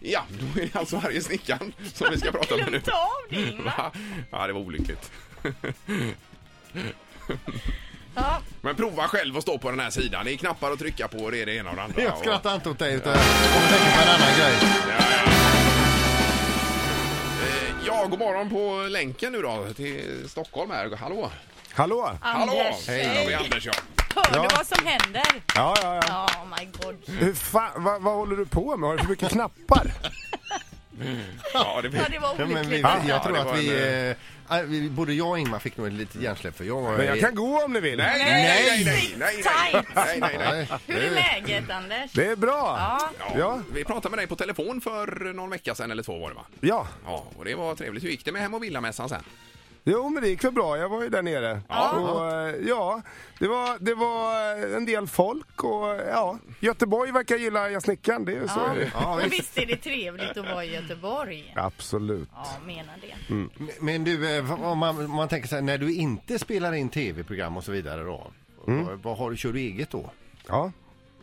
Ja, då är det alltså Harry Snickaren som vi ska prata med nu. Mm. Glömt av det Ingmar. Va? Ja, det var olyckligt. Ja, Men prova själv att stå på den här sidan. Det är knappar att trycka på och det är det ena och det andra. Jag Och- skrattar inte åt dig utan jag tänker på en annan grej. Eh, Ja, god morgon på länken nu då till Stockholm här. Hallå! Hallå? Hallå! Anders. Hej! Ja, vi är Anders ja. Hör Ja. du vad som händer? Ja, ja, ja. Ja, oh my god. Hur fan, vad, vad håller du på med? Har du för mycket knappar? Ja, det Ja, det var Ja, men vi, olyckligt. jag Ja, tror det att var vi, en, eh, eh, vi... Både jag och Ingmar fick nog ett litet hjärnsläpp för jag... Men jag kan gå om ni vill. Nej, nej, nej, nej, nej, nej, nej, nej, nej. Nej. Hur är läget Anders? Det är bra. Ja. Ja, Ja. vi pratade med dig på telefon för någon vecka sedan eller två var det va? Ja. Ja, och det var trevligt. Hur gick det med Hem och Villamässan sen? Jo, men det gick väl bra. Jag var ju där nere. Ja. Och, eh, ja, det var, det var eh, en del folk och eh, ja, Göteborg verkar gilla jag snickaren. Det är ju så. Ja. är det. Ja, Och visst. visst är det trevligt att vara i Göteborg? Absolut. Ja, menar det. Men du, eh, vad- om man, om man tänker så här, när du inte spelar in tv-program och så vidare då, vad, vad har du, kör du eget då? Ja.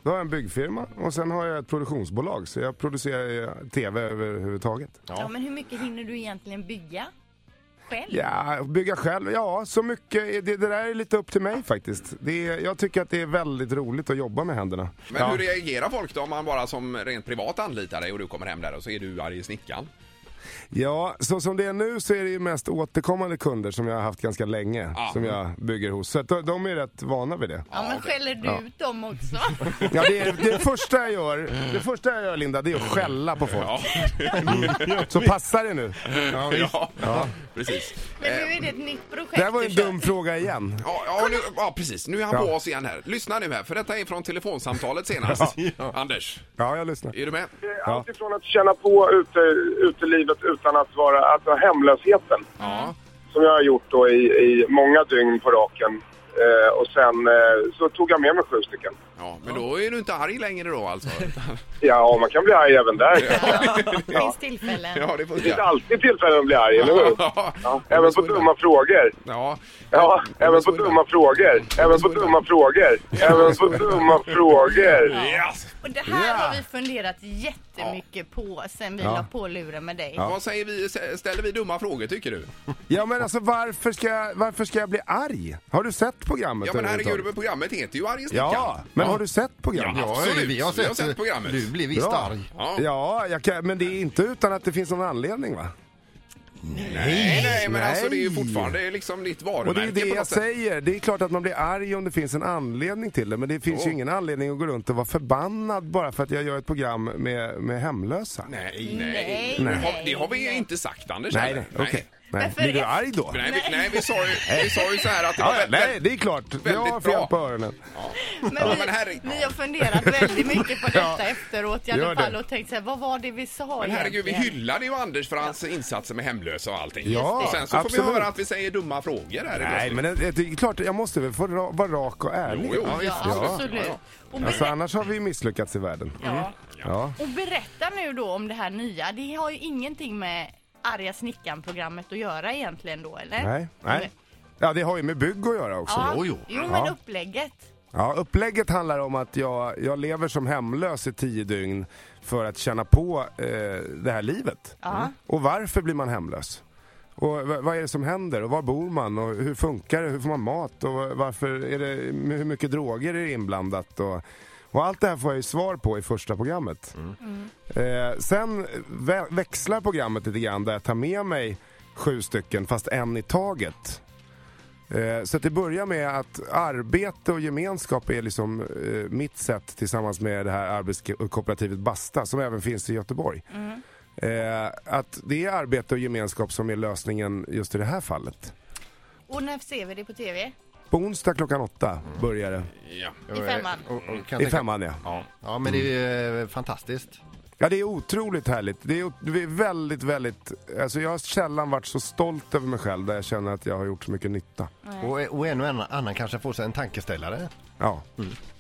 Då har jag en byggfirma och sen har jag ett produktionsbolag så jag producerar ju tv överhuvudtaget. Ja, men hur mycket hinner du egentligen bygga? Själv? Ja, bygga själv. Ja, så mycket. Det, det där är lite upp till mig faktiskt. Det, är- jag tycker att det är väldigt roligt att jobba med händerna. Men ja. hur reagerar folk då om man bara som rent privat anlitar dig och du kommer hem där och så är du arg snickaren? Ja, så som det är nu så är det ju mest återkommande kunder som jag har haft ganska länge, Ja. som jag bygger hos. Så att de, de är rätt vana vid det. Ja, men okej. skäller du ut dem också? Ja, det, är, det, första jag gör, det första jag gör, Linda, det är att skälla på folk. Ja, Så passa dig nu. ja, ja. precis. Men nu Eh, är det ett nytt projekt Det här var ju en du kör. dum fråga igen. Ja, ja, nu, ja, precis. Nu är han Ja. på oss igen här. Lyssna nu här, för detta är från telefonsamtalet senast. Anders, Ja, jag lyssnar. är du med? Allt ifrån att känna på ute, utelivet utan att vara, alltså hemlösheten. Ja. Som jag har gjort då i, i många dygn på raken. Eh, och sen eh, så tog jag med mig sju stycken. ja. Men då är du inte arg längre då alltså? Ja, man kan bli arg även där. Det finns tillfällen. Ja, det får Det finns alltid tillfällen att bli arg, eller hur? Ja, Ja, även på dumma frågor. Ja, Ja, även på så är det. dumma frågor. Även på dumma frågor. Även på dumma frågor. Yes. Och det här Ja. har vi funderat jättemycket på sen vi Ja. la på luren med dig. Vad säger vi? Ställer vi dumma frågor tycker du? Ja, men alltså varför ska, jag- varför ska jag bli arg? Har du sett programmet Ja men herregud, överhuvudtaget? men programmet heter ju Arg snickaren. Ja, men har du sett programmet? Ja, absolut. Vi har sett programmet. eh, Du blir visst Bra. arg. Ja. Ja, jag kan, men det är inte utan att det finns någon anledning va? Nej, nej, men Nej. alltså det är ju fortfarande liksom ditt varumärke Och det är ju det på jag något sätt. säger. Det är klart att man blir arg om det finns en anledning till det. Men det finns Ja. ju ingen anledning att gå runt och vara förbannad bara för att jag gör ett program med, med hemlösa. Nej, nej. Nej, Det nej. har- Det har vi inte sagt Anders. nej, eller? nej. okej. Nej. Varför Blir du är- arg då? Nej, vi, nej vi, sa ju, vi sa ju så här att det Ja, var ja, väldigt- nej, det är klart. Jag har väldigt bra. fel på öronen. Men vi, men herre- vi har funderat väldigt mycket på detta efteråt i Gör alla det. fall och tänkt så här, vad var det vi sa Men herregud, vi egentligen? hyllade ju Anders för hans insatser med hemlösa och allting. Ja, och sen så får vi absolut. höra att vi säger dumma frågor här. Nej, men det, det är klart. Jag måste väl få ra, vara rak och ärlig. Jo, jo. Ja, Ja, Ja. absolut. Ja. Och, ber- Alltså, Mm. annars har vi ju misslyckats i världen. ja. Ja. och berätta nu då om det här nya. Det har ju ingenting med arga snickaren-programmet att göra egentligen då, eller? Nej, nej. Ja, det har ju med bygg att göra också. Ja. Jo, jo. men Ja. upplägget. Ja, upplägget handlar om att jag, jag lever som hemlös i tio dygn för att känna på eh, det här livet. Mm. Ja. Och varför blir man hemlös? Och v- vad är det som händer? Och var bor man? Och hur funkar det? Hur får man mat? Och varför är det, hur mycket droger är det inblandat? Och, och allt det här får jag ju svar på i första programmet. Eh, sen vä- växlar programmet lite grann där jag tar med mig sju stycken, fast en i taget. Eh, Så att det börjar med att arbete och gemenskap är liksom eh, mitt sätt tillsammans med det här arbetskooperativet Basta som även finns i Göteborg. Eh, att det är arbete och gemenskap som är lösningen just i det här fallet. Och när ser vi det på tv? På onsdag klockan åtta börjar det. Ja. I femman. Och, och, kan I tänka- femman ja. Ja, men det är ju eh, fantastiskt. Ja det är otroligt härligt. Det är, o- det är väldigt, väldigt, alltså jag har sällan varit så stolt över mig själv där jag känner Mm. att jag har gjort så mycket nytta. Mm. Och, och en och annan, annan kanske får sig en tankeställare. Ja.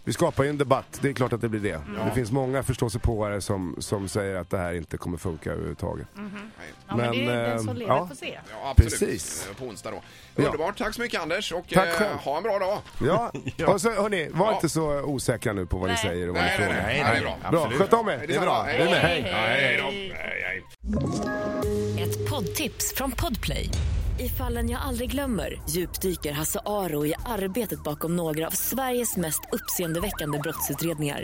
Vi skapar ju en debatt, det är klart att det blir det. Det finns många förståsigpåare som, som säger att det här inte kommer funka överhuvudtaget. Mm. Ja, men, Men, det är den eh, som lever ja. får se. Ja, absolut. Precis. Eh, På onsdag då. Ja. Underbart. Tack så mycket Anders och Tack eh, själv. ha en bra dag. Ja, och så hörni, var Ja. inte så osäkra nu på vad Nej. ni säger och vad ni Nej, nej, frågar. nej. Ja, det är bra. Bra, Absolut. sköt om er. detsamma. Hej. Hej. Hej. Ja, hej då. Hej, hej. Ett poddtips från Podplay. I fallen jag aldrig glömmer djupdyker Hasse Aro i arbetet bakom några av Sveriges mest uppseendeväckande brottsutredningar.